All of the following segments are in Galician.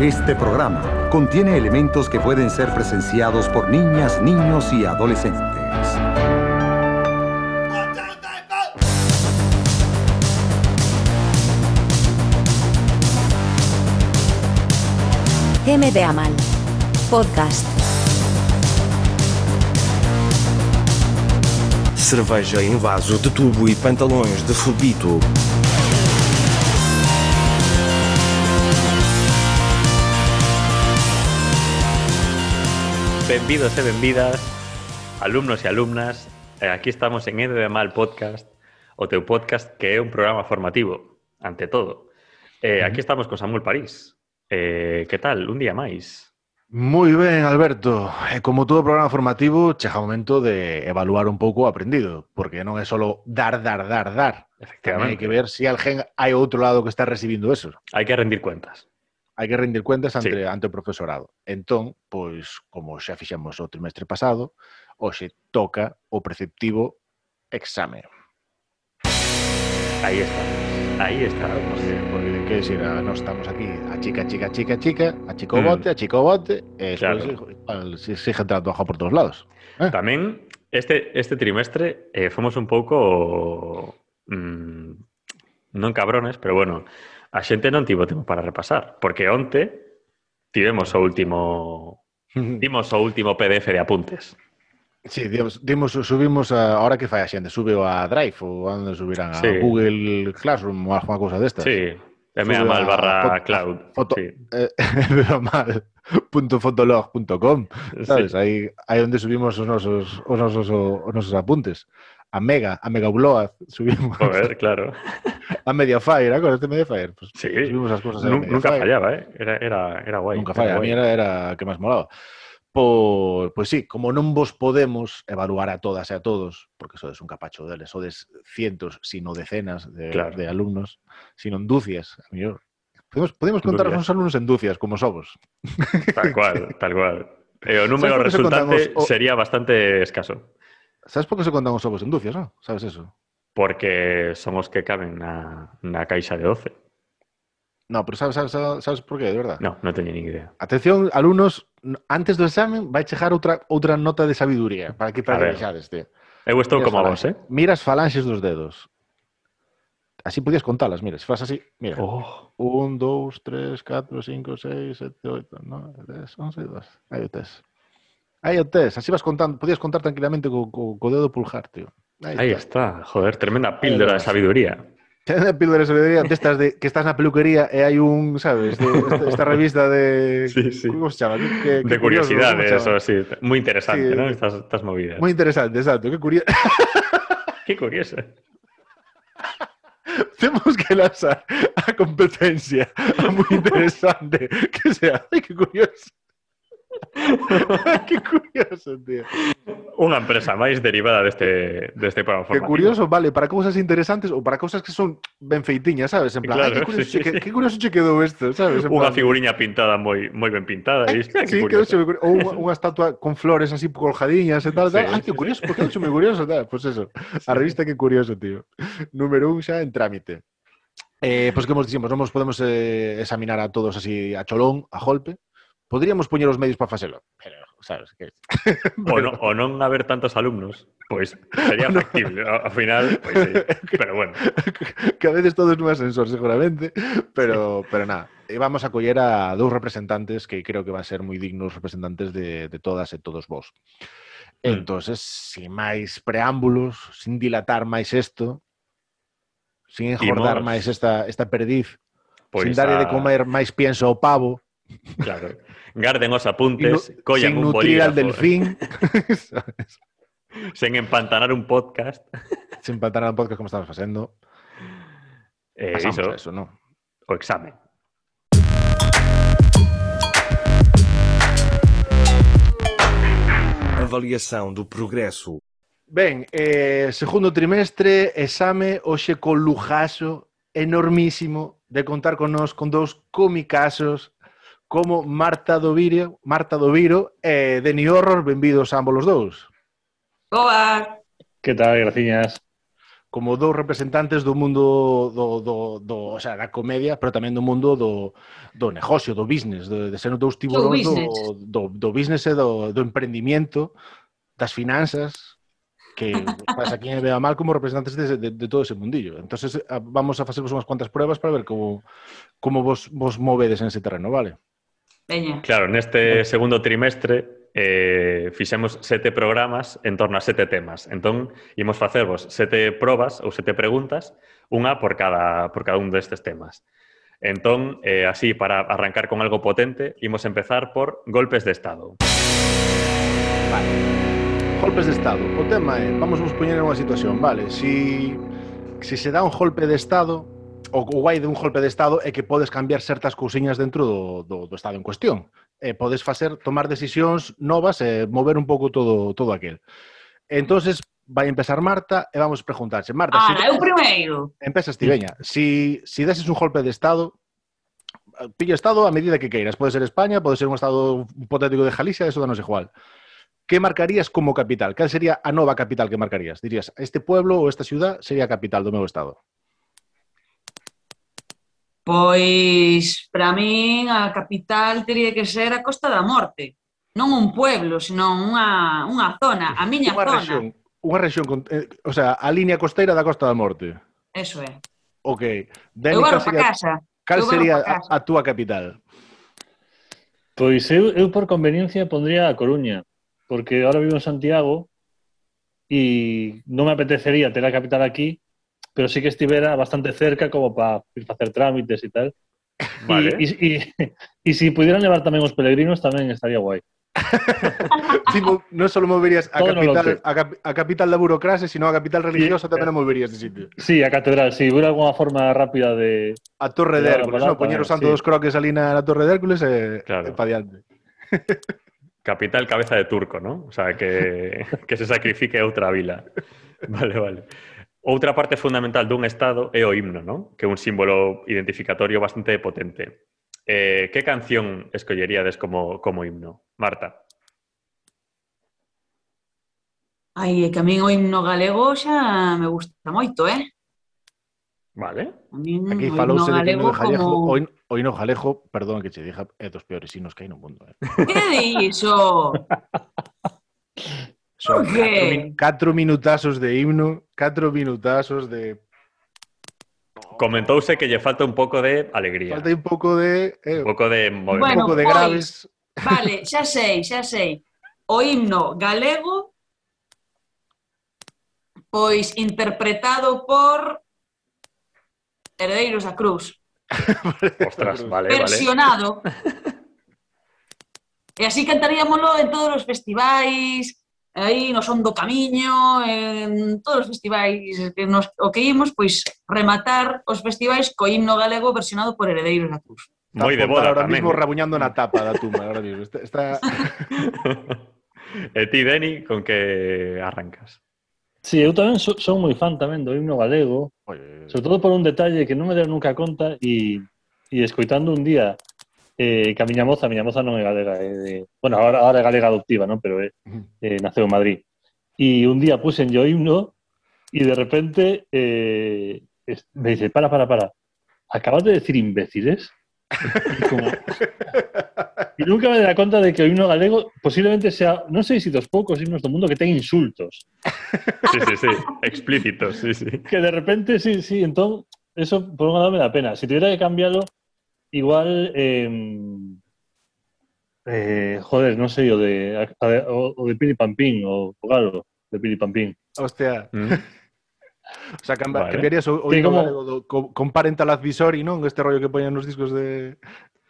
Este programa contiene elementos que pueden ser presenciados por niñas, niños y adolescentes. MD Amal. Podcast. Cerveja em vaso de tubo e pantalões de fubito. Bienvenidos y bienvidas, alumnos y alumnas. Eh, Aquí estamos en Endo de Mal Podcast, o teu podcast que é un programa formativo, ante todo. Eh, aquí estamos con Samuel París. Eh, que tal? Un día máis. Moi ben, Alberto. E como todo programa formativo, chega o momento de evaluar un pouco o aprendido, porque non é só dar, dar, dar, dar. Tamén hai Efectivamente. que ver se si alguén hai outro lado que está recibindo eso. Hai que rendir cuentas. Hai que rendir cuentas Sí. ante, ante o profesorado. Entón, pois, como xa fixemos o trimestre pasado, hoxe toca o preceptivo exame. Aí estamos. Aí estamos. Porque, que decir, ah, non estamos aquí a chica, chica, chica, chica, a chico Mm. bote, a chico bote, e Claro. despois igual se sigue entrando abajo por todos lados. Tamén este, este trimestre eh, fomos un pouco mm, non cabrones, pero bueno, a xente non tivo tempo para repasar, porque onte tivemos o último dimos o último PDF de apuntes. Sí, dimos, dimos, subimos a, ahora que fai a xente, sube a Drive ou a onde subirán, a Sí. Google Classroom ou alguma cousa destas. Sí, Sube MA mal a barra foto- cloud. foto- Sí, Eh, pero mal, punto fotolog.com, sabes? sí. Aí, aí onde subimos os nosos, os nosos, os nosos apuntes. A Mega, a Mega Bload, subimos Joder, claro. a Mediafire, acordaste de Mediafire? Pues, Sí. Subimos as cousas a Nun- nunca Mediafire. fallaba, ¿eh? Era, era, era guay. Nunca falla, a era mí guay. era, era a que máis molaba. Por, pois sí, como non vos podemos evaluar a todas e a todos, porque sodes un capacho deles, sodes cientos, sino decenas de, Claro. de alumnos, sino en ducias, a mellor. Podemos, podemos contar os Ducias. nosos alumnos en ducias, como somos. Tal cual, tal cual. Eh, o número por que se resultante contan os- o- sería bastante escaso. Sabes por que se contan os ovos en ducias, non? Sabes eso? Porque son os que caben na, na caixa de 12. No, pero sabes, sabes, sabes, sabes por que, de verdad. No, non teño nin idea. Atención, alumnos, antes do examen vai chegar outra outra nota de sabiduría para que para A ver. que vexades, tío. Eu estou Mira as como vos, falanxes. eh? Mira as falanxes dos dedos. Así podías contalas, mira, se fas así, mira. Oh, 1, 2, 3, 4, 5, 6, 7, 8, 9, 10, 11, 12. Aí o tes. Aí o tes. Así vas contando. Podías contar tranquilamente co, co, co dedo pulgar, tío. aí está. Joder, tremenda píldora de sabiduría. Ten a píldora de sabiduría destas de, que estás na peluquería e hai un, sabes, de, esta, esta revista de... Sí, sí. Como se chama? Que, que De curioso, ¿no? curiosidades, Como se eso chama? sí. Moi interesante, Sí. non? Estas, estas movidas. Moi interesante, exacto. Que curioso. Que curioso. Temos que lanzar a competencia. Moi interesante. Que sea. Ai, que curioso. Ai, que curioso, tío. Unha empresa máis derivada deste, deste este programa Que formativo. curioso, vale, para cousas interesantes ou para cousas que son ben feitiñas, sabes? En plan, Claro, claro, que, curioso sí, che, sí. que curioso che quedou isto, sabes? En Unha plan, figuriña pintada moi moi ben pintada. E isto, Sí, que quedou curioso. ou unha, unha estatua con flores así colgadiñas e tal, tal. Sí, Ai, que sí, curioso, por que non moi curioso, tal. Pois pues eso, a revista que curioso, tío. Número un xa en trámite. Eh, pois que vos dixemos, non nos podemos eh, examinar a todos así a cholón, a golpe. Podríamos poñer os medios para facelo, pero, sabes, que... O, no, o non haber tantos alumnos, pois sería factible. Ao ao final, pois sí. Pero bueno, que a veces todo es un ascensor, seguramente, pero, pero nada. E Vamos a coller a dous representantes que creo que van a ser moi dignos representantes de, de todas e todos vos. Mm. Entonces, sin máis preámbulos, sin dilatar máis isto, sin enjordar Imos. máis esta, esta perdiz, pois sin darle pues a- de comer máis pienso ao pavo, Claro. Garden os sin apuntes, nu- collan sin un nutrir bolígrafo, al eh. delfín, sen empantanar un podcast. sin pantar al podcast como estamos facendo. Eh, Pasamos iso, a eso, non? o examen. Avaliação do progresso. Ben, eh, segundo trimestre, exame hoxe co lujazo enormísimo de contar con nos con dous comicazos como Marta Doviro, Marta Doviro e Deni Horror, benvidos ambos os dous. Boa! ¿Qué tal, graciñas? como dous representantes do mundo do, do, do, o sea, da comedia, pero tamén do mundo do, do negocio, do business, de, de ser dous tiburóns do, business. do, do business e do, do emprendimiento, das finanzas, que pasa aquí en vea mal como representantes de, de, de todo ese mundillo. Entonces a- vamos a facervos unhas cuantas pruebas para ver como como vos, vos movedes en ese terreno, vale? Veña. Claro, neste segundo trimestre eh, fixemos sete programas en torno a sete temas. Entón, imos facervos sete probas ou sete preguntas, unha por cada, por cada un destes temas. Entón, eh, así, para arrancar con algo potente, imos empezar por golpes de Estado. Golpes de Estado. O tema é, vamos vos poñer en unha situación, vale, si, si se dá un golpe de Estado, o, o guai de un golpe de Estado é que podes cambiar certas cousiñas dentro do, do, do Estado en cuestión. E podes facer, tomar decisións novas e mover un pouco todo, todo aquel. Entonces vai empezar Marta e vamos preguntarse. Marta, Ahora, eu primeiro. Empezas ti, veña. Si, si deses un golpe de Estado, pillo Estado a medida que queiras. Pode ser España, pode ser un Estado hipotético de Galicia, eso danos igual. Que marcarías como capital? Cal sería a nova capital que marcarías? Dirías, este pueblo ou esta ciudad sería a capital do meu Estado. Pois, para min, a capital teria que ser a Costa da Morte. Non un pueblo, senón unha, unha zona, a miña Unha zona. rexión, unha rexión, con, eh, o sea, a línea costeira da Costa da Morte. Eso é. Ok. Dani, Eu barro cal para sería, casa. cal eu barro sería pa a, casa. a túa capital? Pois eu, eu por conveniencia pondría a Coruña, porque ahora vivo en Santiago e non me apetecería ter a capital aquí, pero sí que estivera bastante cerca como para ir facer trámites e tal. Vale. E, e, e, e se pudieran levar tamén os peregrinos tamén estaría guai. Si mo- non só moverías a Todo no capital, norte. a, cap- a capital da burocracia, sino a capital religiosa tamén a moverías de sitio. Sí, a catedral, si sí, hubiera alguna forma rápida de... A Torre de Claro, Hércules, para- non? Poñer o para- santo sí. dos croques ali na, na Torre de Hércules e, Claro. e pa diante. Capital cabeza de turco, ¿no? O sea, que, que se sacrifique a outra vila. Vale, vale. Outra parte fundamental dun Estado é o himno, ¿no? Que é un símbolo identificatorio bastante potente. Eh, que canción escolleríades como, como himno? Marta. Ai, é que a min o himno galego xa me gusta moito, eh? Vale. A min Aquí o himno falouse de que galego no de Jallejo, Mm, como... o hin- o hino Jalejo, perdón que che diga, é dos peores hinos que hai no mundo. Eh. Que dixo? Son que? catro, min- catro minutazos de himno, catro minutazos de... Comentouse que lle falta un pouco de alegría. Falta aí un pouco de... Eh, Un pouco de un movimento. Bueno, pouco de pois. graves. Vale, xa sei, xa sei. O himno galego pois interpretado por Herdeiros da Cruz, Ostras, vale, vale. versionado. E así cantaríamoslo en todos os festivais, aí no Son do Camiño, en todos os festivais que nos o que imos, pois rematar os festivais co himno galego versionado por Heredeiros da Cruz. Está Moi de Portal boda Ahora tamén. mismo rabuñando na tapa da tumba. Ahora mismo. Este, Está, está... E ti, Deni, con que arrancas? Sí, eu tamén so, son moi fan tamén do himno galego, Oye, Sobre todo por un detalle que non me deron nunca conta e, e escoitando un día eh, que a miña moza, a miña moza non é galega, é de, bueno, ahora, ahora é galega adoptiva, non? pero é, eh, naceu en Madrid. E un día puxen o himno e de repente eh, es- me dice, para, para, para, acabas de decir imbéciles? E como- E nunca me da conta de que o himno galego posiblemente sea, non sei se dos poucos himnos do mundo que ten insultos. Sí, sí, sí. Explícitos, sí, sí. Que de repente, sí, sí, entonces, eso por un lado me da pena. Si tuviera que cambiarlo, igual, eh, eh, joder, no sé, o de, a- a- o, o de Pili Pampín, o, o algo de Pili Pampín. Hostia, Mm. o sea, camba, Vale. cambiarías o, o Sí, himno como- galego do, co, con Parental Advisory, non? Este rollo que poñen nos discos de,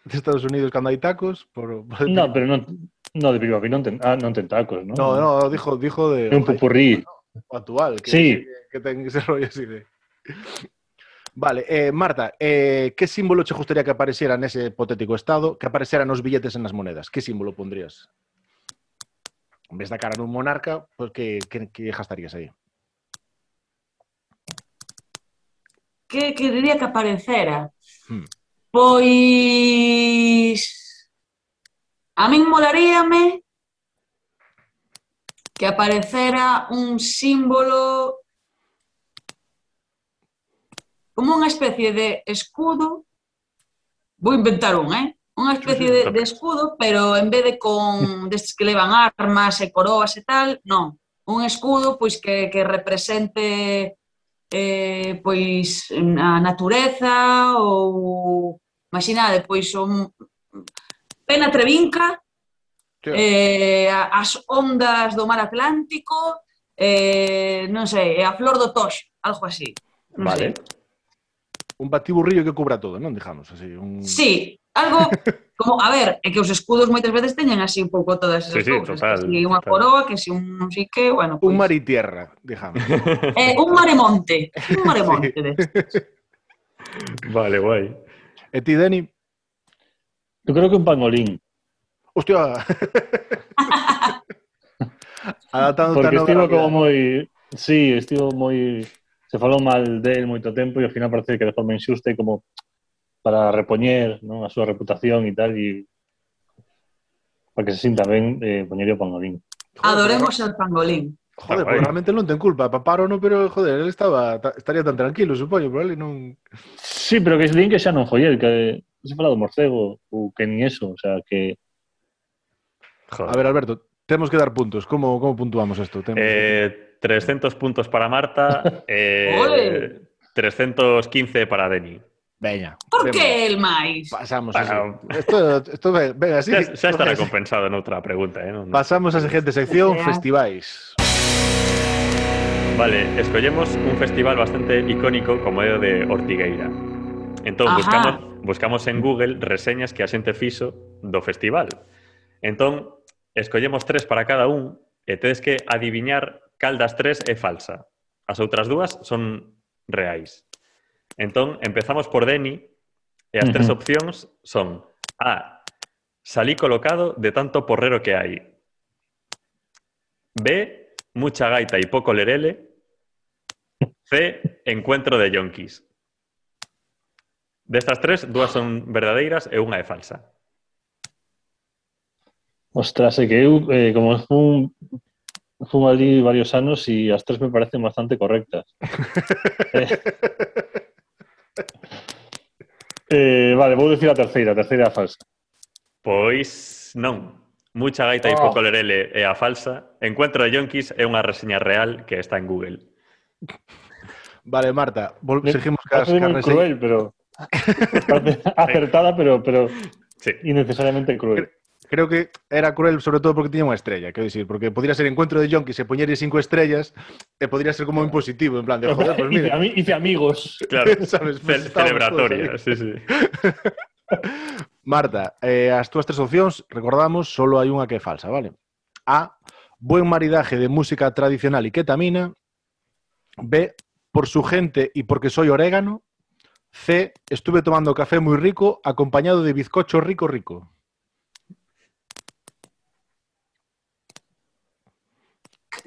de Estados Unidos cando hai tacos. Por, por No, pero no, no de Pili Pampín, no, ten, ah, no tentacos, ¿no? No, no, dijo, dijo de Es Ah. un pupurrí. o actual, que, Sí. que, que ten ese rollo así de... Vale, eh, Marta, eh, que símbolo che gustaría que apareciera nese hipotético estado, que aparecera nos billetes en las monedas? Que símbolo pondrías? En vez da cara nun monarca, pues, que, que, que gastarías aí? Que querería que aparecera? Hmm. Pois a min molaríame que aparecera un símbolo como unha especie de escudo, vou inventar un, eh? Unha especie Sí, sí, de, tope. de escudo, pero en vez de con destes que levan armas e coroas e tal, non. Un escudo pois que, que represente eh, pois a natureza ou imaginade, pois un Pena Trevinca, Sí. eh, a- as ondas do mar Atlántico, eh, non sei, e a flor do toxo, algo así. Non Vale. Un batiburrillo que cubra todo, non? Digamos, así, un... Sei. Sí, algo como, a ver, é que os escudos moitas veces teñen así un pouco todas esas Sí, sí, cousas. total, que si unha total. coroa, que si un non sei que, bueno, Un pois, mar y tierra, digamos. eh, un maremonte, un maremonte sí. deste. Vale, guay. e ti, Dani? Yo creo que un pangolín. Hostia. Adaptando Porque tan estivo como moi... Sí, estivo moi... Se falou mal del moito tempo e ao final parece que de forma inxusta e como para repoñer non, a súa reputación e tal e para que se sinta ben eh, poñerle o pangolín. Adoremos el pangolín. Joder, Está pues guai. realmente non ten culpa, paparo non, pero joder, él estaba ta- estaría tan tranquilo, supoño, pero él non Sí, pero que es din que xa non foi el, que se fala do morcego ou que nin eso, o sea, que Joder. A ver, Alberto, temos que dar puntos. Como como puntuamos isto? Temos... Eh, 300 puntos para Marta, eh, Ole. 315 para Deni. Veña. Por temos. que el máis? Pasamos Para- así. Esto, esto ve- venga, así. Ya, ya estará así. compensado en otra pregunta, ¿eh? No- no- Pasamos á seguinte sección, Espera. festivais. Vale, escollemos un festival bastante icónico como é o de Ortigueira. Entón, Ajá. buscamos, buscamos en Google reseñas que a xente fixo do festival. Entón, escollemos tres para cada un e tedes que adiviñar cal das tres é falsa. As outras dúas son reais. Entón, empezamos por Deni e as tres Ujú. opcións son A. Salí colocado de tanto porrero que hai. B. Mucha gaita y poco lerele. C. Encuentro de yonkis. De estas tres, dúas son verdadeiras e unha é falsa. Ostras, é que eu, eh, como fun, fun ali varios anos e as tres me parecen bastante correctas. eh, eh, vale, vou dicir a terceira, a terceira é a falsa. Pois non. Mucha gaita e Oh. pouco lerele é a falsa. Encuentro de yonkis é unha reseña real que está en Google. Vale, Marta, vol- Me- seguimos cas ¿eh? Parece moi cas cruel, pero... parece acertada, pero, pero Sí. innecesariamente cruel. Creo que era cruel sobre todo porque tiña unha estrella, quero dicir, porque podría ser encuentro de Jonquis e poñerlle cinco estrellas, e podría ser como impositivo, en plan de joder, pues Hice, mira. ami- hice amigos. Claro, Sabes, ce- pues, estábamos celebratoria. todos Sí, sí. Ah, Marta, eh, as túas tres opcións, recordamos, solo hai unha que é falsa, vale? A, buen maridaje de música tradicional y ketamina. B, por su gente y porque soy orégano. C, estuve tomando café muy rico acompañado de bizcocho rico rico.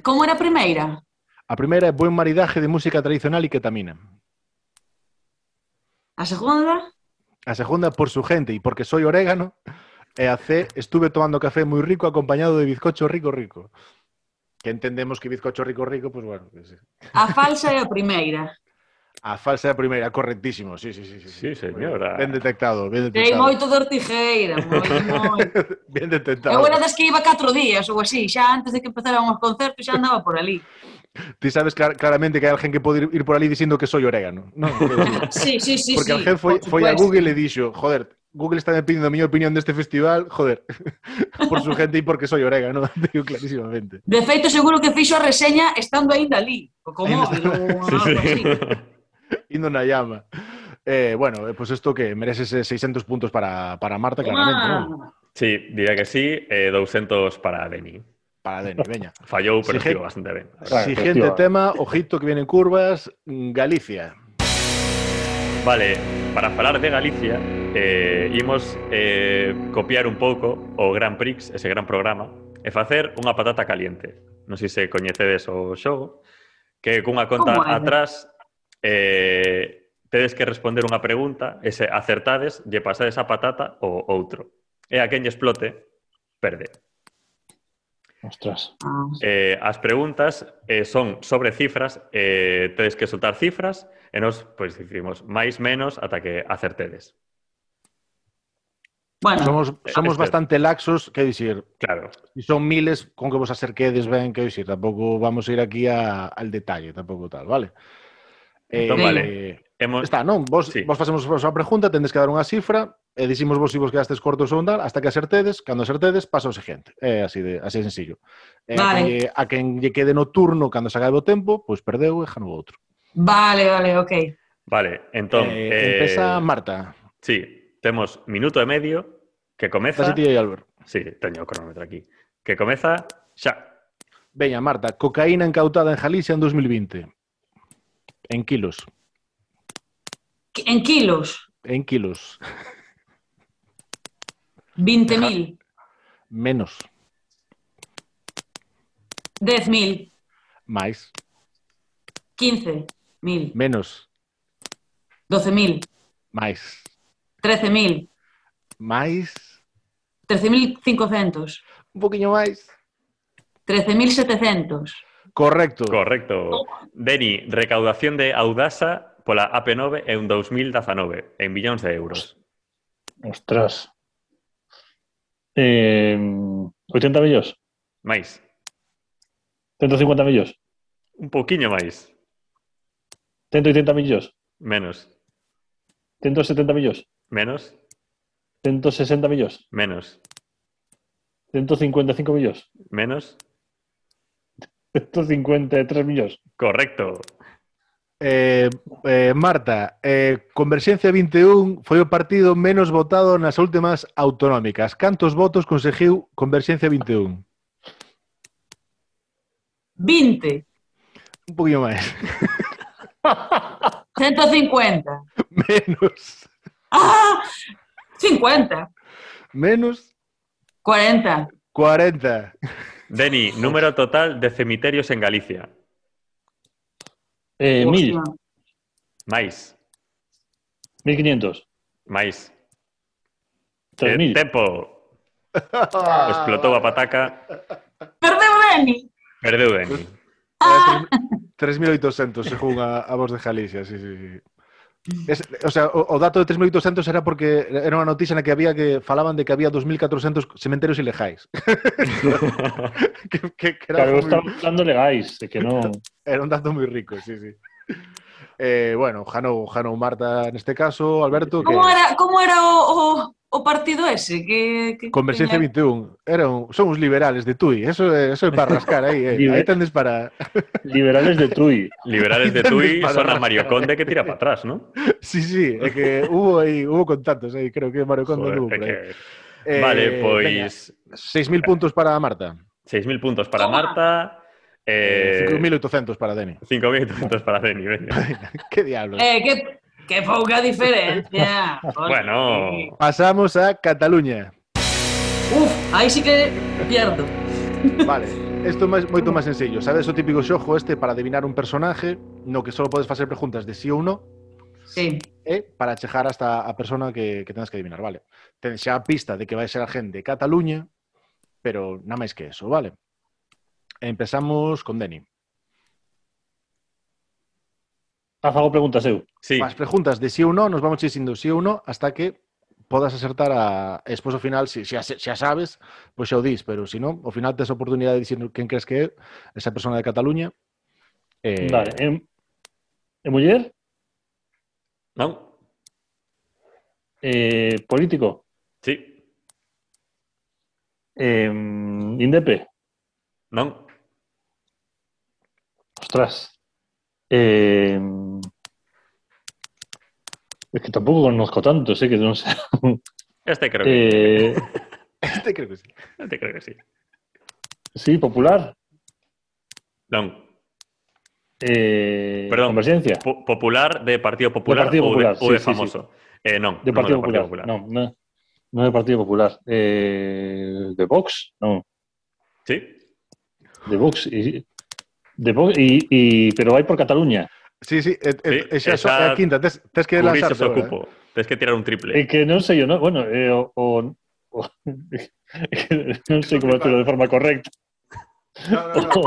Como era a primeira? A primeira é buen maridaje de música tradicional y ketamina. A segunda? A segunda, por su gente y porque soy orégano. E a C, estuve tomando café muy rico acompañado de bizcocho rico rico. Que entendemos que bizcocho rico rico, pues bueno, que sí. A falsa é a primeira. A falsa da primeira, correctísimo. Sí, sí, sí. Sí, Sí, señora. Ben detectado, ben Sei detectado. moito de Ortigueira, moito, moito. Ben Eu detectado. era das que iba catro días ou así, xa antes de que empezaran os concertos xa andaba por ali. Ti sabes clar- claramente que hai alguén que pode ir- ir por ali dicindo que soy orégano. No, porque Sí, sí, sí, sí. alguén foi, por foi a supuesto. Google e dixo, joder, Google está me pidiendo a miña opinión deste festival, joder, por su gente e porque soy orégano, digo clarísimamente. De feito, seguro que fixo a reseña estando aínda ali, co co Aínda- móvil ou Sí, algo sí. así. Indo na llama. Eh, bueno, eh, pues esto que mereces eh, 600 puntos para, para Marta, claramente, Ah, ¿no? Sí, diría que sí. Eh, 200 para Deni. Para Deni, veña. Fallou, pero Sí, estivo je- bastante ben. la verdad. Claro, Siguiente efectivamente. tema, ojito que vienen curvas, Galicia. Vale, para falar de Galicia, eh, imos eh, copiar un pouco o Grand Prix, ese gran programa, e facer unha patata caliente. Non sei se coñecedes o xogo, que cunha conta Como é? atrás eh, tedes que responder unha pregunta, e se acertades, lle pasades a patata ou outro. E a quen lle explote, perde. Ostras. Ah, Eh, as preguntas eh, son sobre cifras, eh, tedes que soltar cifras e nos pois dicimos máis menos ata que acertedes. Bueno, Somos, somos Este. bastante laxos, quero dicir, Claro. e son miles con que vos acerquedes ben, quero dicir, tampouco vamos a ir aquí a, al detalle, tampouco tal, vale? Eh, Entón, vale. Hemos, Está, non? Vos, Sí. sí. vos facemos vos a pregunta, tendes que dar unha cifra, e dicimos vos se vos quedastes cortos ou non, hasta que acertedes, cando acertedes, pasa o seguinte. É así de así de sencillo. E Vale. vale. a quen lle quede no turno cando se acabe o tempo, pois perdeu e janou outro. vale, vale, ok. Vale, entón... eh, eh, empeza Marta. Sí, temos minuto e medio que comeza... Estás ti aí, Albert. Sí, teño o cronómetro aquí. Que comeza xa. Veña, Marta, cocaína incautada en Galicia en 2020. En kilos. En kilos, En kilos. 20.000, Menos. 10.000, Máis. 15.000, Menos. 12.000, Máis. 13.000, Máis. 13.500, Un poquinho máis. 13.700. Correcto. Correcto. Deni, recaudación de Audasa pola AP9 en 2019, en millóns de euros. Ostras. Eh, 80 millóns? Máis. 150 millóns? Un pouquiño máis. 180 millóns? Menos. 170 millóns? Menos. 160 millóns? Menos. 155 millóns? Menos. 153 millóns? Correcto. Eh, eh, Marta, eh, Converxencia 21 foi o partido menos votado nas últimas autonómicas. Cantos votos conseguiu Converxencia 21? 20, Un poquinho máis. 150. Menos. ¡Ah! 50, Menos 40, 40. Deni, número total de cemiterios en Galicia. Eh, 1000, Hostia. Máis. 1500, Máis. Eh, 3000. tempo. Ah, Explotou a pataca. Perdeu Dani. Perdeu Deni. Ah. Era Eh, tres- 3.800, según a, a voz de Galicia, sí, sí, sí. Es- o sea, o, o dato de 3.800 era porque era unha noticia na que había que falaban de que había 2.400 cementerios ilegais. que, que, que era, Claro, moi- estamos hablando legais, de que non... era un dato moi rico, sí, sí. Eh, bueno, Janou, Janou Marta neste caso, Alberto, que Como era, como era o, o, o partido ese? Que, que Converxencia tiña? 21, era un, son uns liberales de Tui, eso é, eso é para rascar aí, eh. aí Liber- tendes para... Liberales de Tui. Liberales de Deni Tui para son a rascar. Mario Conde que tira para atrás, ¿no? Sí, sí, é que hubo aí, hubo contactos aí, creo que Mario Joder, Conde anduvo por aí. é que- Vale, Eh, pois... 6.000 puntos para Marta, 6.000 puntos para Toma. Marta. Eh, 5.800 para Deni. 5.500 para Deni. venga. Que diablos. Eh, que, que pouca diferencia. Bueno, Pasamos a Cataluña. Uf, aí sí que pierdo. Vale, isto é moito máis sencillo. Sabes o típico xojo este para adivinar un personaje no que só podes facer preguntas de sí ou no Sí. e para chejar hasta a persona que, que tengas que adivinar, vale. Ten xa a pista de que vai ser a gente de Cataluña, pero nada máis que eso, vale. E empezamos con Deni. Haz algo preguntas eu. sí, As preguntas de sí ou no, nos vamos dicindo sí ou no hasta que podas acertar a... E despois, ao final, se, se, a- se a sabes, pois xa o dis, pero se non, ao final tes a oportunidade de dicir quen crees que é esa persona de Cataluña. Eh, Vale. Em, em muller? ¿no? Eh, político? Sí, Em, indepe? ¿no? Ostras. Em, es que tampouco conozco tanto, sé que non sei. Este creo que, Eh, Este creo que sí. este creo que sí. sí, popular. No. Eh, Perdón. Convergencia. Po- popular de Partido Popular Partido ou de- Popular, ou de sí, sí, famoso. Eh, non, De non Partido, Partido Popular. No, no, no de Partido Popular. Eh, de Vox, no. Sí, De Vox. Y, de Vox y, y- pero vai por Cataluña. Sí, sí, e, e, Sí, e xa esa- é a quinta, tes, tes que Cubriche lanzarte. se agora, ocupo. Tens que tirar un triple. Eh, que non sei, eu non, bueno, eh, o, o, o non sei como telo de forma correcta. No, no, no.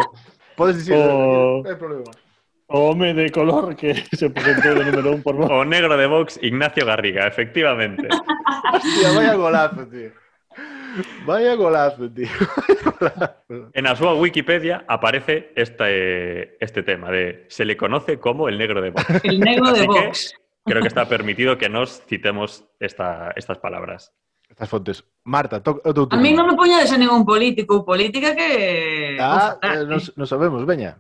Oh. Podes dicir, eh, O- non hai problema. O home de color que se presentou de número un por Vox. O negro de Vox, Ignacio Garriga, efectivamente. Hostia, vaya golazo, tío. Vaya golazo, tío. En la su Wikipedia aparece este, este tema de se le conoce como el negro de Vox. El negro de Así que- Vox. Creo que está permitido que nos citemos esta- estas palabras. Estas fontes. Marta, toca o teu A mí turno. no me poñades a ningún político, política que... Ah, Uf, eh, nos, nos sabemos, veña.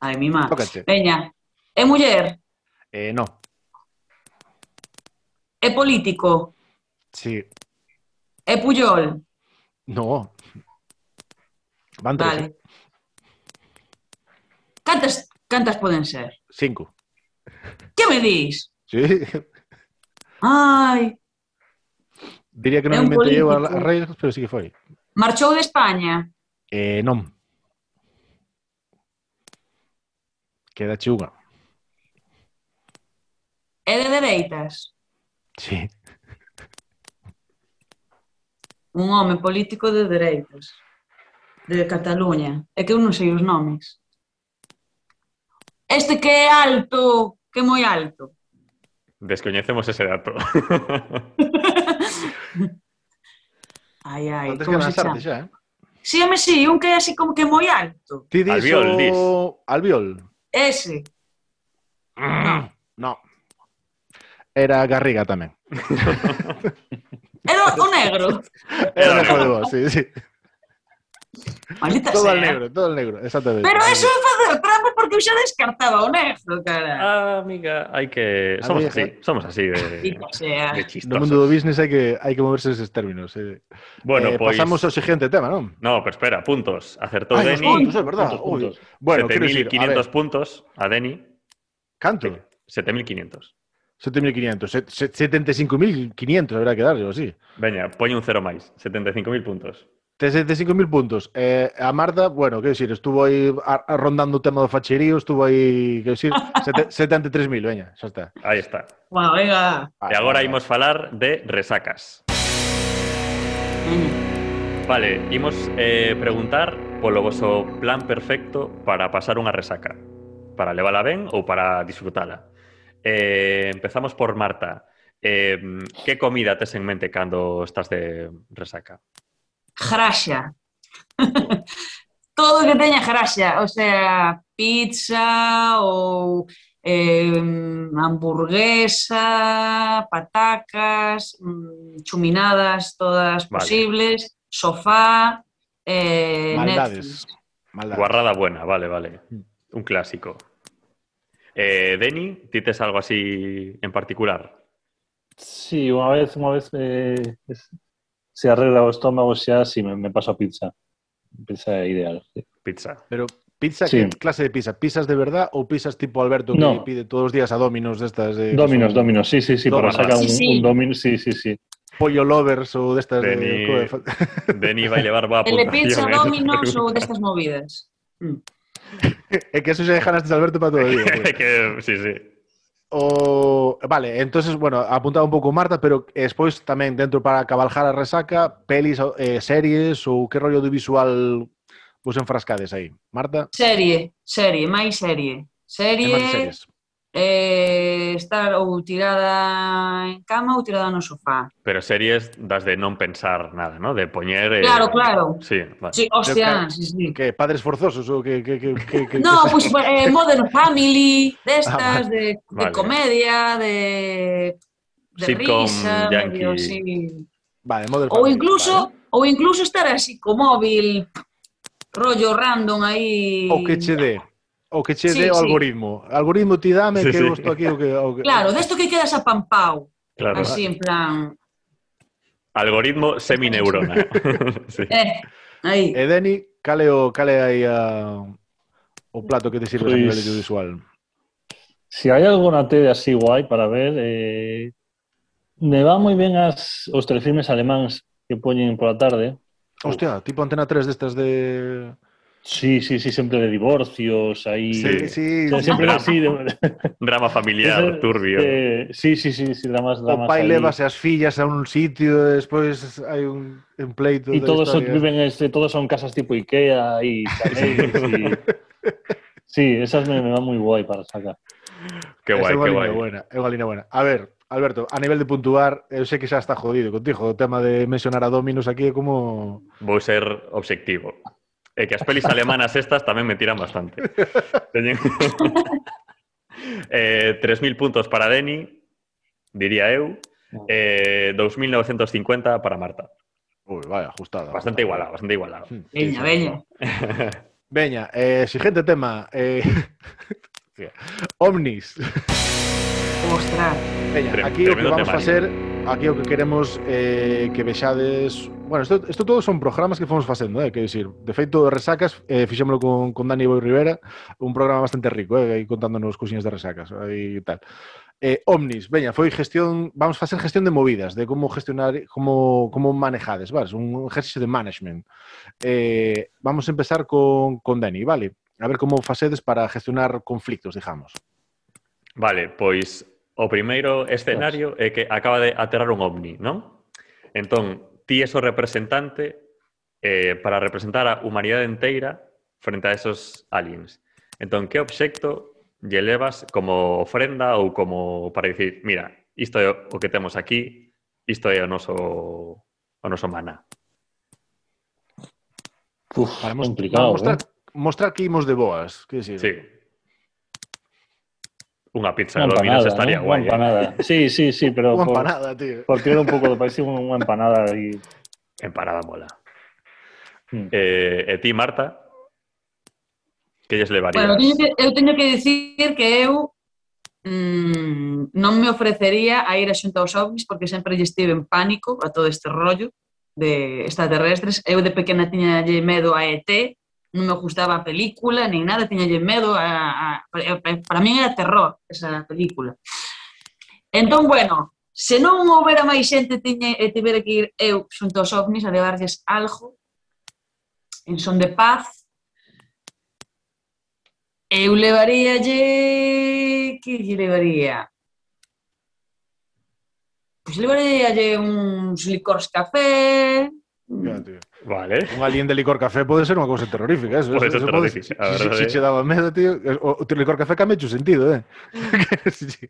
Ay, mi má. tócache. Veña, é muller, Eh, no. é político, Sí. é Puyol. No. Van tres. ¿eh? Vale. Cantas, cantas poden ser? Cinco. Que me dis? Sí. Ai, Diría que non É un inventei eu as político. regras, pero sí que foi. marchou de España. Eh, non. Quedache unha. É de dereitas. Sí. Un home político de dereitas. De Cataluña. É que eu non sei os nomes. Este que é alto, que é moi alto. Desconocemos ese dato. Ai, ai, Non tens que como se lanzarte xa, chama? eh? Sí, home, sí, un que é así como que moi alto. Ti dis Albiol, o- dis. Albiol. Ese. No. No. Era Garriga tamén. Era o negro. Era Era mejor de vos, sí, sí. Maldita Todo al sea. negro, todo al negro, exactamente. Pero eso é facer trampa porque eu xa descartaba o negro, cara. Ah, amiga, hay que. Somos Amiga. así, somos así de, Maldita sea. de No mundo do chistosos. business hai que, hai que moverse eses términos. Eh. Bueno, eh, pues. Pasamos ao seguinte tema, non? No, pero espera, puntos. Acertó Ai, os Deni, puntos, é verdad. Puntos, oi. puntos. Bueno, quero dicir, a ver, 7.500 puntos a Deni, canto? 7.500. 7.500, set- set- 75.500 habrá que darlle, ou así. Veña, poñe un cero máis, 75.000 puntos. Tes 75.000 puntos. Eh, a Marta, bueno, quero dicir, estuvo aí a- a rondando o tema do facherío, estuvo aí, quero dicir, sete- 73.000, veña, xa está. Aí está. Bueno, venga. E agora imos falar de resacas. Veña. Vale, imos eh, preguntar polo voso plan perfecto para pasar unha resaca. Para levala ben ou para disfrutala. Eh, empezamos por Marta. Eh, que comida tes en mente cando estás de resaca? Graxa. Todo o que teña graxa, o sea, pizza ou eh, hamburguesa, patacas, mm, chuminadas todas Vale. posibles, sofá, eh, Maldades. Maldades. Guarrada buena, vale, vale. Un clásico. Eh, Deni, ti tes algo así en particular? Sí, unha vez, unha vez eh, es- se arregla o estómago xa, si me, me paso a pizza. Pizza é ideal. sí. Pizza. Pero pizza, Sí. que clase de pizza? ¿Pizzas de verdad o pizzas tipo Alberto que No. pide todos los días a Dominos de estas de Dominos, Dominos, sí, sí, sí, para Dominos. sacar un, Sí, sí. un Domino, sí, sí, sí. pollo lovers o de estas Vení. de Deni vai levar boa Telepizza, puntuación, eh, dominos nesta ou destas movidas. Mm. É que eso xa dejaste Alberto para todo o día. pregunta. tío. que, sí, sí. O vale, entonces bueno, apuntaba un pouco Marta, pero eh, despois tamén dentro para cabalgar a resaca, pelis, eh, series ou que rollo de visual vos enfrascades aí. Marta, Serie, serie, máis serie. que máis Serie, series? eh, estar ou tirada en cama ou tirada no sofá. Pero series das de non pensar nada, ¿no? De poñer... eh, Claro, claro. Sí, vale. Sí, Creo hostia, que- sí, sí. Que padres forzosos ou que que que que, que No, pues eh, Modern Family, de estas, Ah, vale. de, de Vale. comedia, de, de Sitcom risa, medio yankee. así. Vale, Modern O Family, incluso, vale. o incluso estar así con móvil, rollo random o ahí. que che dé o que che Sí, dé o sí. algoritmo. Algoritmo ti dame Sí, que sí. eu estou aquí o que o que Claro, de esto que quedas apampao, claro. así en plan. Algoritmo semineurona. sí. Eh, ahí. E Deni, cale o cale aí a o plato que te sirves a Pois- nivel audiovisual? Si hai alguna tele así guai para ver, eh, me va moi ben as, os telefilmes alemáns que poñen pola tarde. Hostia, tipo Antena 3 destas de Sí, sí, sí, siempre de divorcios, ahí. Sí, sí. Son sí. siempre así. de- Drama familiar, Ese- turbio. eh, sí, sí, sí, sí, dramas, O dramas. pai ahí. levas as fillas a un sitio, e despois hai un, un pleito Y da todos son, historia. viven, este, todos son casas tipo Ikea y chalets y- Sí, esas me, me van muy guay para sacar. Qué guay, é unha qué liña guai. buena, é unha liña buena. A ver, Alberto, a nivel de puntuar, eu sei que xa está jodido contigo, o tema de mencionar a Dominos aquí é como Vou ser obxectivo. É que as pelis alemanas estas tamén me tiran bastante. Teñen... eh, 3.000 puntos para Deni, diría eu. Eh, 2.950 para Marta. Ui, vai, ajustada. Bastante igualado, bastante igualado. Hmm. Veña, veña. Veña, eh, siguiente tema. Eh... Omnis. Ostras. Veña, Trem- aquí o que tremendo ¿eh? vamos temario. facer, aquí o que queremos eh, que vexades... Bueno, isto, isto todo son programas que fomos facendo, eh, que decir, de feito, Resacas, eh, fixémolo con, con Dani Boi Rivera, un programa bastante rico, eh, aí contándonos cousiñas de Resacas e tal. Eh, Omnis, veña, foi gestión, vamos facer gestión de movidas, de como gestionar, como, como manejades, vale, un ejercicio de management. Eh, vamos a empezar con, con Dani, vale, a ver como facedes para gestionar conflictos, digamos. Vale, pois o primeiro escenario é que acaba de aterrar un ovni, non? Entón, ti és o representante eh, para representar a humanidade inteira frente a esos aliens. Entón, que obxecto lle levas como ofrenda ou como para dicir, mira, isto é o que temos aquí, isto é o noso o noso maná. Uf, Para mos- complicado. mostrar, ¿eh? mostrar que imos de boas, que decir, Sí. Unha pizza de Una dominos empanada, estaría ¿no? Una guai. eh? empanada. Sí, sí, sí, pero Unha por, empanada, tío. por crear un poco de país, una empanada y Empanada mola. Mm. Eh, e ti, Marta, que lles levarías? Bueno, teño que, eu teño que dicir que eu mm, non me ofrecería a ir a xunta aos ovnis porque sempre lle estive en pánico a todo este rollo de extraterrestres. Eu de pequena tiña lle medo a ET, non me gustaba a película, nin nada, tiña lle medo a, a, a para min era terror esa película. Entón, bueno, se non houbera máis xente tiñe, e tivera que ir eu xunto aos ovnis a levarlles algo en son de paz, Eu levaríalle... Que lle levaría? Pois levaríalle uns licores café... Ya, tío. Vale. Un alien de licor café pode ser unha cousa terrorífica, eso. Pode eso, ser eso terrorífica, a Si, si, verdade. si che daba medo, tío, o, o teu licor café cambia o sentido, eh. Si, si.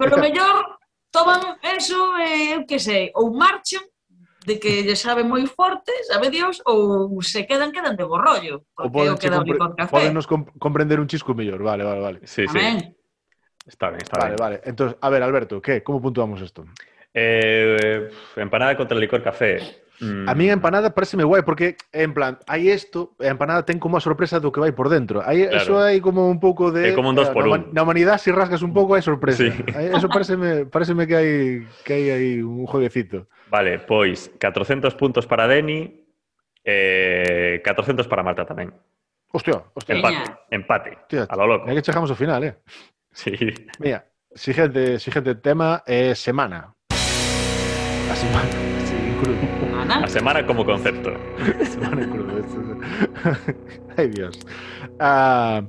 Pero mellor toman eso, eh, eu que sei, ou marchan de que lle sabe moi forte, sabe Dios, ou se quedan, quedan de borrollo. o Porque eu che queda o licor compre- café. podenos com- comprender un chisco mellor, vale, vale, vale. Sí, sí. Amén. Está bien, está Vale, bien. vale. Entonces, a ver, Alberto, que? Como puntuamos isto? Eh, empanada contra el licor café. Mm, A mí a empanada pareceme guai porque en plan, hai isto, a empanada ten como a sorpresa do que vai por dentro. Aí Claro. eso hai como un pouco de É como un dos eh, por na, un. huma- na humanidade se rasgas un pouco hai sorpresa. Sí. Aí Eso pareceme pareceme que hai que hai aí un jueguecito. Vale, pois 400 puntos para Deni, eh, 400 para Marta tamén. Hostia, hostia. Empate, Veña. empate. Hostia, A lo loco. é que chegamos ao final, eh. Sí. Mira, siguiente, siguiente tema é semana. A semana, sí, en crudo. Ana, A semana como concepto. semana en crudo. esto es- Ay, Dios. Ah,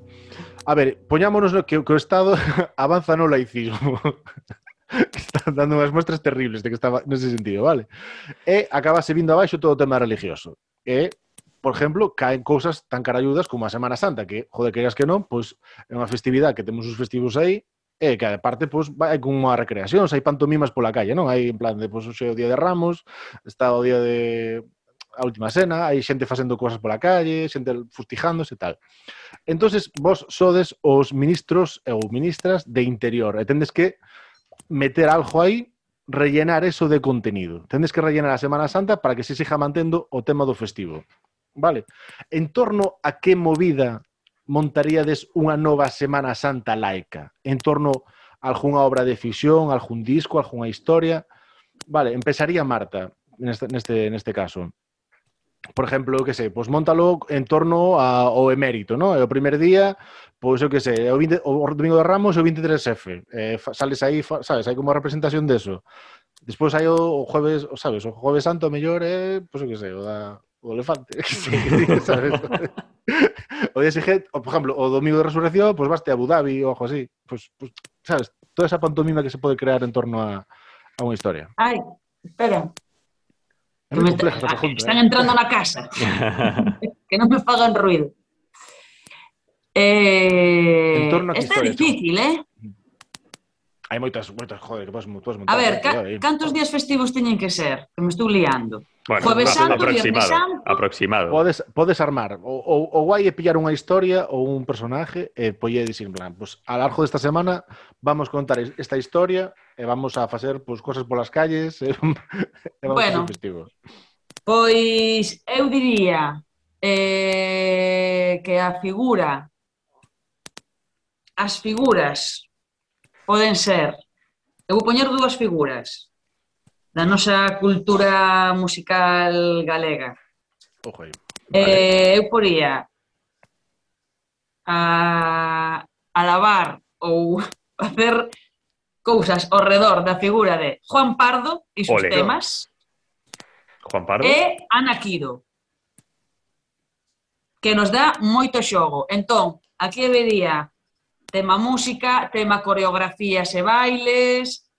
a ver, poñámonos no que, que o Estado avanza no laicismo. Están dando unhas muestras terribles de que estaba nese sentido, vale? E acabase vindo abaixo todo o tema religioso. E, por exemplo, caen cousas tan caralludas como a Semana Santa, que, joder, querías que non, pois é unha festividade que temos os festivos aí, e que aparte, pois, vai con unha recreación, hai pantomimas pola calle, non? Hai en plan de, pois, hoxe é o día de Ramos, está o día de a última cena, hai xente facendo cousas pola calle, xente fustijándose e tal. Entonces, vos sodes os ministros ou ministras de interior e tendes que meter algo aí, rellenar eso de contenido. Tendes que rellenar a Semana Santa para que se siga mantendo o tema do festivo. Vale. En torno a que movida montaríades unha nova Semana Santa laica? En torno a algunha obra de ficción, algún disco, algunha historia? Vale, empezaría Marta neste, neste, neste caso por exemplo, eu que sei, pois montalo pues en torno a, ao emérito, non? E o primer día, pues pois eu que sei, é o, 20, o domingo de Ramos é o 23F. Eh, fa- sales aí, fa- sabes, hai como a representación eh, pues deso. Despois hai o, o jueves, o, sabes, o jueves santo mellor é, pois eu que sei, o da o elefante. ¿sabes? o Jesse Head, o por exemplo, o Domingo de Resurrección, pois pues vaste a Abu Dhabi ou algo así. Pois, pues, pues, sabes, toda esa pantomima que se pode crear en torno a, a unha historia. Ay, espera. É que moi me está- compleja esa ah, pregunta. están eh. entrando a la casa. que no me hagan ruido. Eh, En torno a que esta historia, é difícil, eh? Hai moitas, moitas, joder, que podes, podes montar. A ver, eh, ca- cuidado aí. cantos días festivos teñen que ser? Que me estou liando. Bueno, Jueves Santo, aproximado. Viernes Santo. Aproximado. Podes, podes armar, o, o, o guai é pillar unha historia ou un personaje e polle dicir, en plan, pues, a largo desta semana vamos contar es- esta historia e vamos a facer pues, cosas polas calles e, e vamos a Bueno. ser festivos. Pois eu diría eh, que a figura as figuras poden ser eu vou poñer dúas figuras da nosa cultura musical galega. Ojo aí. Eh, eu poría a, a lavar ou facer cousas ao redor da figura de Juan Pardo e seus Ole. temas. Juan Pardo. e Ana Quido, que nos dá moito xogo. Entón, aquí vería tema música, tema coreografías e bailes,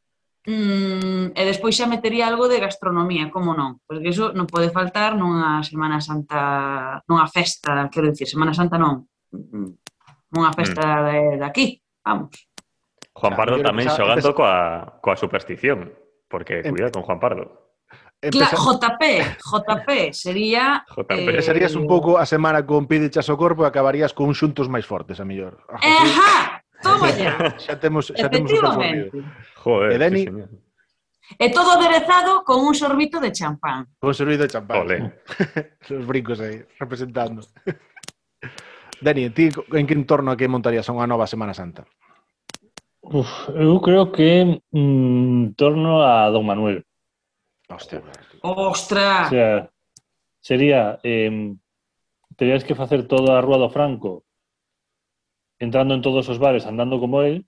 mm, e despois xa metería algo de gastronomía, como non? Porque iso non pode faltar nunha Semana Santa, nunha festa, quero dicir, Semana Santa non, nunha festa de, de aquí, vamos. Juan Ah, Pardo yo tamén empezaba- xogando empez- coa, coa superstición. Porque, Em- cuidado con Juan Pardo. Claro, Empeza, JP, JP sería... JP. Empezarías eh. un pouco a semana con Pide Chaso Corpo e acabarías con xuntos máis fortes, a mellor. Ah, José, Ejá, toma ya, Xa temos, xa temos o campo Eh, efectivamente. unido. Joder, E Dani- sí, señor. E todo aderezado con un sorbito de champán. Con servido de champán. Ole. Los brincos aí, representando. Dani, ti en que entorno a que montarías unha nova Semana Santa? Uf, eu creo que mm, en torno a Don Manuel. Hostia. O ¡Ostras! sea, sería eh, terías que facer toda a Rúa do Franco entrando en todos os bares, andando como él.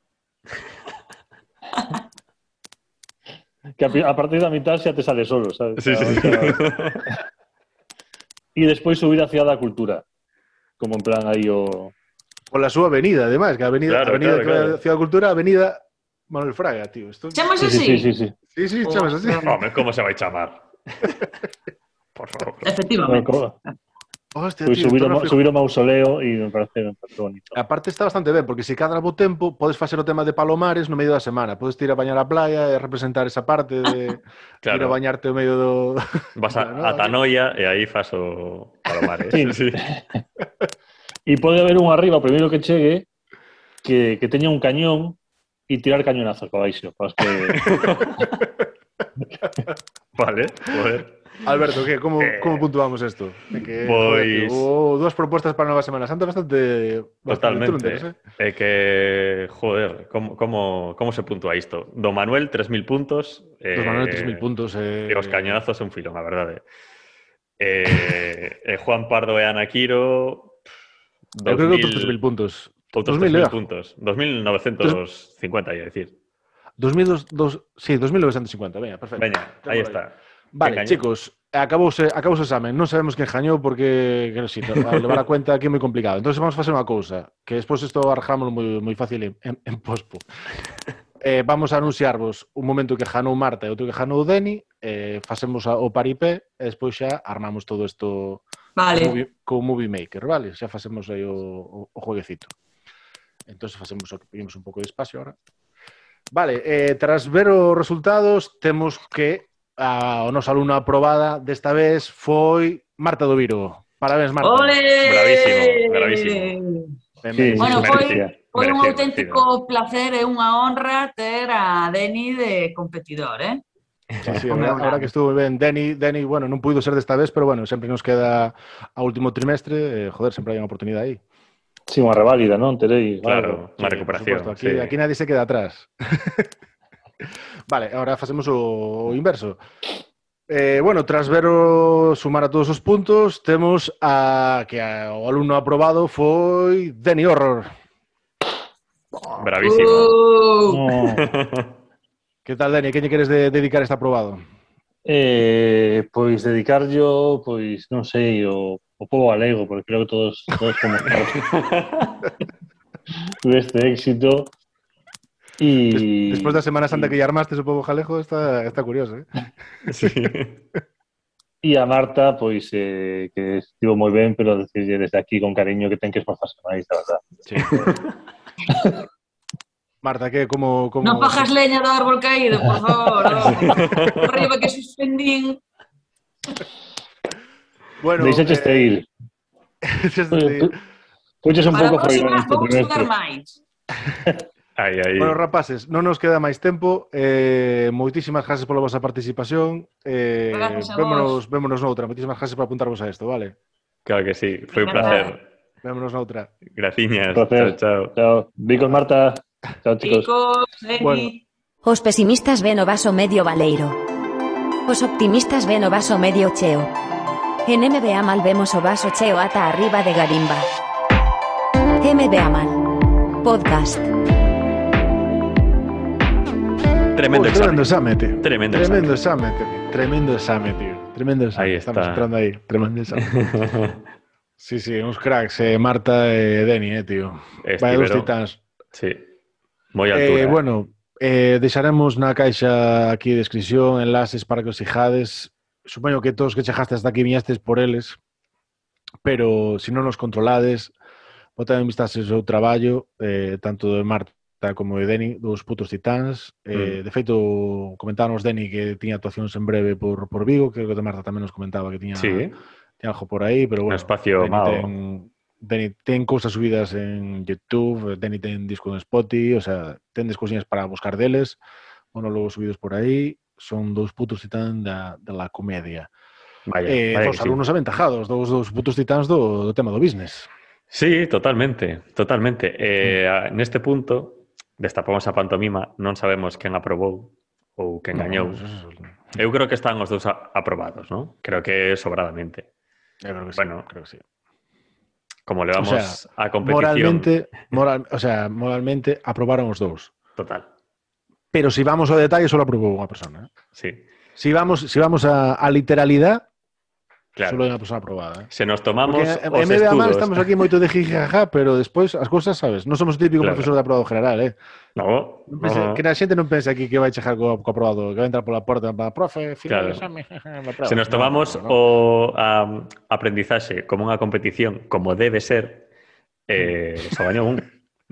que a, pi- a partir da mitad xa te sale solo, sabes? Sí, sí, sí. E despois subir a Ciudad da Cultura. Como en plan aí o... Pola súa avenida, ademais, que a avenida, Claro, claro, avenida claro, claro. claro, Ciudad Cultura, avenida Manuel Fraga, tío. Esto... Chamas Sí, así? sí, sí, sí. Sí, sí, chamas así. Ostras. Home, como se vai chamar? Por favor. Bueno, Efectivamente. como- Hostia, Pois tío, subir, o entorno ma- fijo. subir o mausoleo e me parece, me parece bonito. Aparte está bastante ben, porque se cadra bo tempo, podes facer o tema de Palomares no medio da semana. Podes te ir a bañar a playa e representar esa parte de ir a Claro, bañarte o medio do... vas a, Bueno, a Tanoia e aí fas o Palomares. Sí. Sí. E pode haber un arriba, o primeiro que chegue, que, que teña un cañón e tirar cañonazos para baixo. Para os que... Vale, joder. Alberto, que como, Eh, Pues- como puntuamos isto? De Que, pois- joder, tío, hubo dúas propostas para a Nova Semana Santa bastante... bastante Totalmente. trundas, eh? É que, joder, como, como, como se puntúa isto? Do Manuel, 3.000 puntos. Eh, Dos Manuel, 3.000 puntos. Eh... E os cañonazos é un filón, a verdade. Eh, e Juan Pardo e Ana Quiro... pff, Eu creo que outros 2000 3.000 puntos. Outros 3.000 2000 era. puntos. 2.950, ia dicir. 2002, dos, sí, 2.950, venga, perfecto. Veña, aí Estamos está. Vale, Venga, chicos, acabouse, acabouse o examen. Non sabemos quen jañou porque, que non sei, a levar a cuenta aquí é moi complicado. Entonces vamos facer unha cousa, que despois isto arrejámoslo moi, moi fácil en, en, en pospo. Eh, vamos a anunciarvos un momento que janou Marta e outro que janou Deni, eh, facemos a- o paripé e despois xa armamos todo isto Vale. movie- co Movie Maker, vale? Xa facemos aí o, o, o jueguecito. Entonces facemos o que pedimos un pouco de espacio ahora. Vale, eh, tras ver os resultados, temos que a, o nosa alumna aprobada desta vez foi Marta do Viro. Parabéns, Marta. ¡Ole! Bravísimo, bravísimo. Benvenida. Bueno, Sí, foi, merecía, foi un merecía, auténtico placer e unha honra ter a Deni de competidor, eh? Sí, sí, Hombre, ahora, una- ahora que estuvo ben Deni, Deni, bueno, non puido ser desta vez, pero bueno, sempre nos queda a último trimestre, eh, joder, sempre hai unha oportunidade aí. Sí, unha reválida, non? Terei algo. Claro, unha Sí, por recuperación. supuesto, Aquí, sí. aquí nadie se queda atrás. vale, ahora facemos o inverso. Eh, bueno, tras ver o sumar a todos os puntos, temos a que a, o alumno aprobado foi Deni Horror. Bravísimo. Uh, pues, No. Que tal, Deni? Que lle queres de, dedicar este aprobado? Eh, Eh, pois dedicar yo, pues, pois, non sei, o, o povo galego, porque creo que todos, todos comenzamos deste este éxito. E... Despois da Semana Santa e- que lle armaste o povo jalejo, está, está curioso, eh? Sí. E a Marta, pois, eh, que estivo moi ben, pero decirlle desde aquí con cariño que ten que esforzarse máis, a verdad. Marta, que como... como... Non pajas leña do árbol caído, por favor. oh. Arriba que suspendín. Bueno, eh, Deixaches te ir. deixaste de ir. Pois un Para a pouco próxima este vamos estudar trimestre. máis. Ahí, ahí. Bueno, rapaces, non nos queda máis tempo. Eh, moitísimas gracias pola vosa participación. Eh, Grazas a vémonos, vos. vémonos noutra. Moitísimas gracias por apuntarvos a isto, vale? Claro que sí. Fue un Nada. placer. Vémonos noutra. Graciñas. Placer. Chao, chao. Chao. Vi con Marta. Chao, chicos. Chicos, Eni. Bueno. Os pesimistas ven o vaso medio valeiro. Os optimistas ven o vaso medio cheo. En MBA mal vemos o vaso cheo ata arriba de garimba. MBA mal. Podcast. Tremendo examen. Uy, Uh, tremendo exame, tío. Tremendo Tremendo exame, tío. Tremendo exame, tío. Tremendo exame. Ahí Estamos está. entrando aí. Tremendo exame. examen. sí, sí, uns cracks. Eh, Marta e eh, Deni, eh, tío. Vai dos Estivero. titáns. Este, Sí. Moi Eh, altura. bueno, eh, deixaremos na caixa aquí descripción, enlaces para que os fijades. Supoño que todos que chegaste hasta aquí viñastes por eles, pero se non os controlades, botad en vistas o seu traballo, eh, tanto de Marta como de Deni, dos putos titáns. Mm. Eh, De feito, comentábamos Deni que tiña actuacións en breve por, por Vigo, creo que o de Marta tamén nos comentaba que tiña, sí. tiña algo por aí, pero Un ah, bueno, espacio Dani mao. ten, Dani ten cousas subidas en YouTube, Dani ten disco en Spotify, o sea, tendes cousiñas para buscar deles, monólogos subidos por aí, son dos putos titáns da, da la comedia. Vaya, Eh, vaya dos que sí. alumnos aventajados, dos, dos putos titáns do, do tema do business. Sí, totalmente, totalmente. Eh, a- neste punto, destapamos a pantomima, non sabemos quen aprobou ou quen gañou. Eu creo que están os dous a- aprobados, non? Creo que sobradamente. Eu creo que sí, Bueno, creo que sí. Como levamos O sea, a competición Moralmente, moral, o sea, moralmente aprobaron os dous. total. Pero se si vamos ao detalle, só aprobou unha persona. eh. Sí, Se si vamos, si vamos a, a literalidade, claro. só hai unha persona aprobada. Eh. Se nos tomamos Porque os en vez de amar estudos... estamos aquí moito de jijaja, pero despois as cousas, sabes, non somos o típico Claro. profesor de aprobado general, eh. No, Non pense- no. Que a xente non pense aquí que vai chejar co, co aprobado, que vai entrar pola porta, para profe, Claro. final do exame, me aprobo". Se nos No, tomamos no, no. o a, aprendizaxe como unha competición, como debe ser, eh, só gañou un.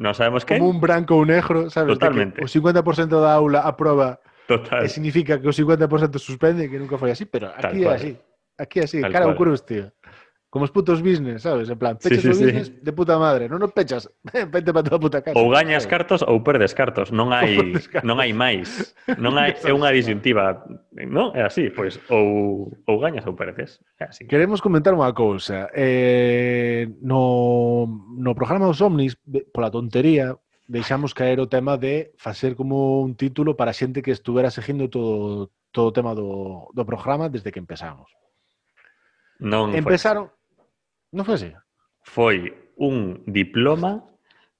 Non sabemos que. Mm. Como un branco ou negro, sabes? de que Totalmente. O 50% da aula aproba Total. e significa que o 50% suspende, que nunca foi así, pero Tal aquí é cual. así. Aquí é así, Tal cara ao cual. cruz, tío. Como os putos business, sabes? En plan, pechas sí, o sí. business de puta madre, non nos pechas, vente para toda a puta casa. Ou gañas sabes? cartos ou perdes cartos, non hai Ou perdes cartos. non hai máis. Non hai é unha disyuntiva, non? É así, pois ou ou gañas ou perdes. É así. Queremos comentar unha cousa. Eh, no, no programa dos Omnis, de- pola tontería, deixamos caer o tema de facer como un título para xente que estuvera seguindo todo todo o tema do, do programa desde que empezamos. Non Empezaron... Non foi así? foi, foi un diploma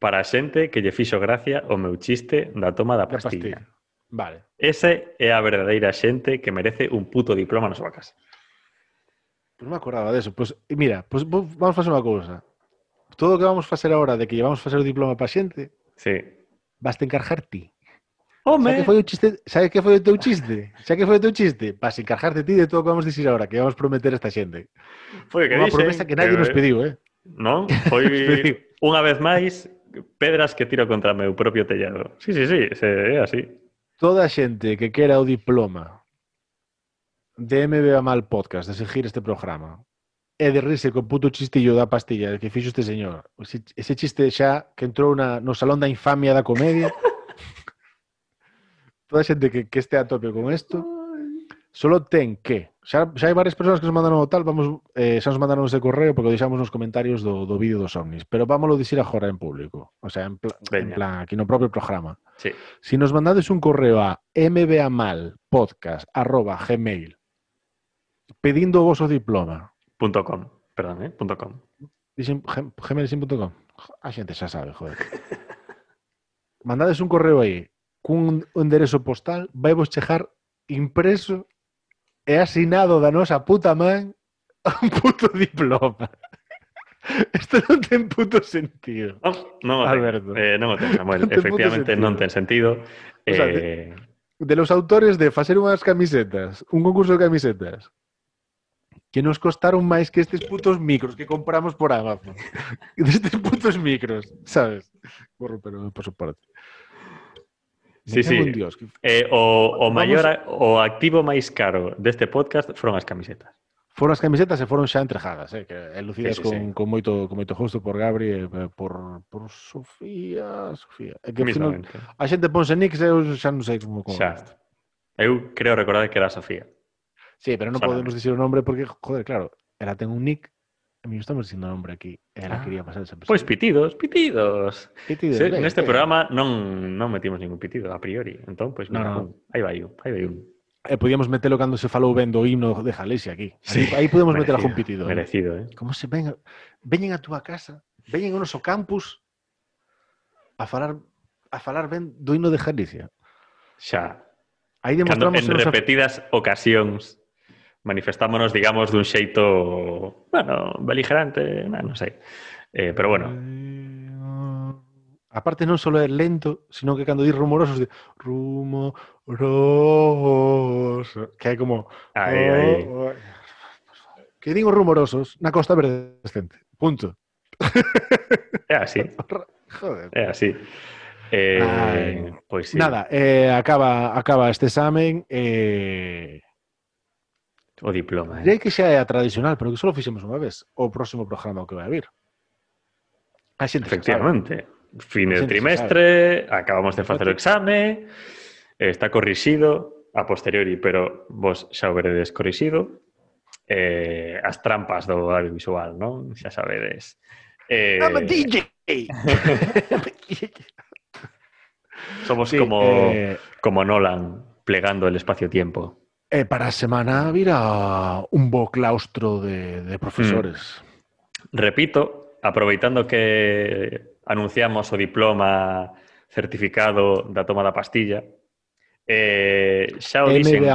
para a xente que lle fixo gracia o meu chiste da toma da Da pastilla. Vale. Ese é a verdadeira xente que merece un puto diploma na súa casa. Pois non me acordaba deso. Pois, e mira, pois, vo- vamos facer unha cousa. Todo o que vamos facer agora de que llevamos facer o diploma para xente, Sí. vas te encargar ti. ¿Sabes que foi o chiste? Sabes que foi o teu chiste? Sabes que foi o teu chiste? Vas encargarte ti de todo o que vamos dicir agora, que vamos prometer a esta xente. foi o que Unha dixen, promesa que nadie pero, nos pediu, eh? Non, foi pediu. unha vez máis pedras que tiro contra meu propio tellado. Sí, sí, sí, se- é así. Toda a xente que quera o diploma de MBA Mal Podcast, de seguir este programa, e de rirse co puto chistillo da pastilla que fixo este señor, ese, ese chiste xa que entrou na, no salón da infamia da comedia, toda a xente que, que este a tope con isto, solo ten que. Xa, xa hai varias persoas que nos mandaron o tal, vamos, eh, xa nos mandaron ese correo porque o deixamos nos comentarios do, do vídeo dos ovnis, pero vámoslo dicir agora en público, o sea, en, pla, en Veña. plan, aquí no propio programa. Sí. Si nos mandades un correo a mbamalpodcast.gmail pedindo o vosso diploma, Punto com, perdón, eh? Punto com. dixen gem- gmail.com, a xente xa sabe, joder. mandades un correo aí cun enderezo postal, vai vos chejar impreso e asinado da nosa puta man un puto diploma. Isto non ten puto sentido. No, no, lo ten. Alberto. Eh, no lo ten, Samuel. No ten puto Efectivamente, sentido. no ten sentido. O sea, Eh, de los autores de facer unhas camisetas, un concurso de camisetas, que nos costaron máis que estes putos micros que compramos por Amazon. Destes putos micros, sabes? Corro, pero por su parte. Sí, sí. Un Dios. que- eh, o, o Vamos- mayor a- o activo máis caro deste podcast foron as camisetas. Foron as camisetas e foron xa entrejadas, eh, que e lucidas Sí, sí, con, sí. con moito con moito gusto por Gabri e eh, por por Sofía, Sofía. É que fino, Mismamente. a xente ponse nicks e eu xa non sei como como. Xa. Eu creo recordar que era a Sofía. Sí, pero non Solamente. podemos dicir o nombre porque, joder, claro, ela ten un nick, e mí estamos dicindo o nombre aquí, e Ah. ela quería pasar esa Pois pitidos, pitidos. pitido, Sí, neste programa non, non metimos ningún pitido a priori. Entón, pois, No, mira, no. un, aí vai un, aí vai un. E podíamos metelo cando se falou ben do himno de Jalesia aquí. Sí. Aí, aí podemos meter algún pitido. eh. Merecido, eh? Como se ven, veñen a túa casa, veñen ao noso campus a falar a falar ben do himno de Jalesia. Xa. Aí Cando demostramos en a nosa- repetidas ocasións manifestámonos, digamos, dun xeito, bueno, beligerante, na, non sei. Eh, pero bueno, Aparte non solo é lento, sino que cando di rumorosos de rumoroso, que hai como aí, aí. Eh, Oh, oh. Que digo rumorosos na costa verdescente. Punto. É así, Joder. é así. Eh, Ai. pois sí. Nada, eh, acaba acaba este examen eh O diploma, direi eh? que xa é a tradicional, pero que só fixemos unha vez o próximo programa que vai vir. A xente xa sabe. Efectivamente. Fin de Xente se trimestre, acabamos de facer o Efectivamente. exame, eh, está corrixido a posteriori, pero vos xa o veredes corrixido. Eh, as trampas do audiovisual, non? Xa sabedes. Eh, I'm a DJ. somos Sí, como, eh, como Nolan, plegando el espacio-tiempo. eh, para a semana virá un bo claustro de, de profesores. Mm. Repito, aproveitando que anunciamos o diploma certificado da toma da pastilla, eh, xa o dicen...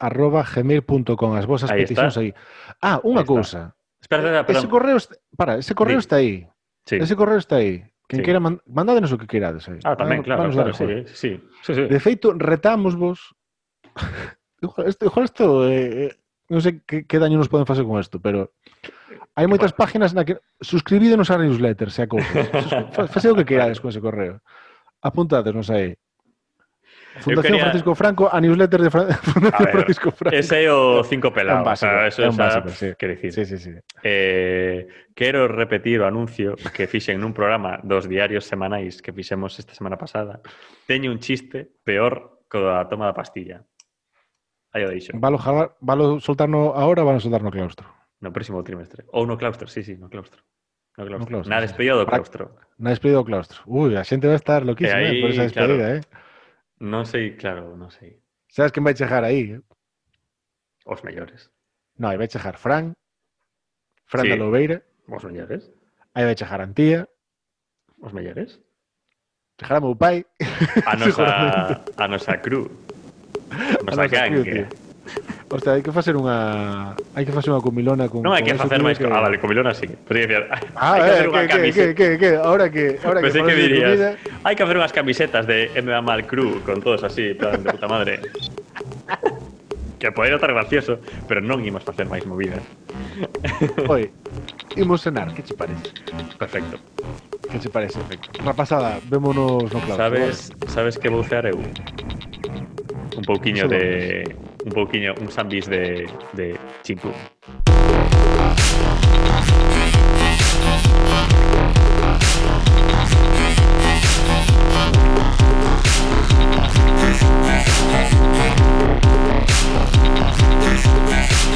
mbamalpodcast@gmail.com as vosas Ahí peticións está. aí. Ah, unha Ahí está. cousa. Espera, espera, Ese perdón. correo, está, para, ese correo Di. está aí. Sí. Ese correo está aí. Quen Sí. queira man- mandádenos o que queirades aí. Ah, tamén, Manda- claro, mandanos claro, dar sí, joder. eh, sí, sí, sí. De feito, retamos vos. Ojo, isto, ojo, isto eh, eh, non sei que, que daño nos poden facer con isto, pero hai moitas páginas na que suscribídenos á newsletter, se a cousas. Sus- fa- Faced o que queirades con ese correo. Apuntádesnos aí. Fundación quería- Francisco Franco, a newsletter de Fran- Fundación ver, Francisco Franco. Ese é o cinco pelados. É un básico, o sea, eso é un xa, básico, sí. quer dicir, Sí, sí, sí. eh, quero repetir o anuncio que fixen nun programa dos diarios semanais que fixemos esta semana pasada. Teño un chiste peor co da toma da pastilla. Aí o deixo. Valo, jalar, valo soltarno ahora, valo soltarno claustro. No próximo trimestre. Ou no claustro, sí, sí, no claustro. No claustro. No claustro, Na sí. despedida do Para- claustro. Na despedida do claustro. Ui, a xente vai estar loquísima E aí, eh, por esa despedida, claro. eh? Non sei, claro, non sei. Sabes quen vai chejar aí? eh? Os mellores. No, aí vai chejar Fran, Sí. Fran da Louveira, Os mellores. aí vai chejar Antía, Os mellores. chejará meu pai, A nosa, a nosa cru. A nosa, nosa gang. eh. cru, tío. Hostia, hai que facer unha hai que facer unha comilona con Non hai que con eso, facer tío, máis... que- co- Ah, vale, comilona sí. Podría decir, hai Ah, que eh, facer unha que, que, que, camiseta. que, que, ahora que ahora Pensei que falas de Pues dirías, comida, hai que facer unhas camisetas de M. Mal Crew con todos así, en plan de puta madre. que pode estar gracioso, pero non imos facer máis movidas. oi, imos cenar, que che parece? Perfecto. Que che parece? Rapazada, vémonos no claustro. Sabes, sabes que vou cear eu? Un pouquiño Eso de... Un pouquiño, un sandwich de, de chimpún. vale.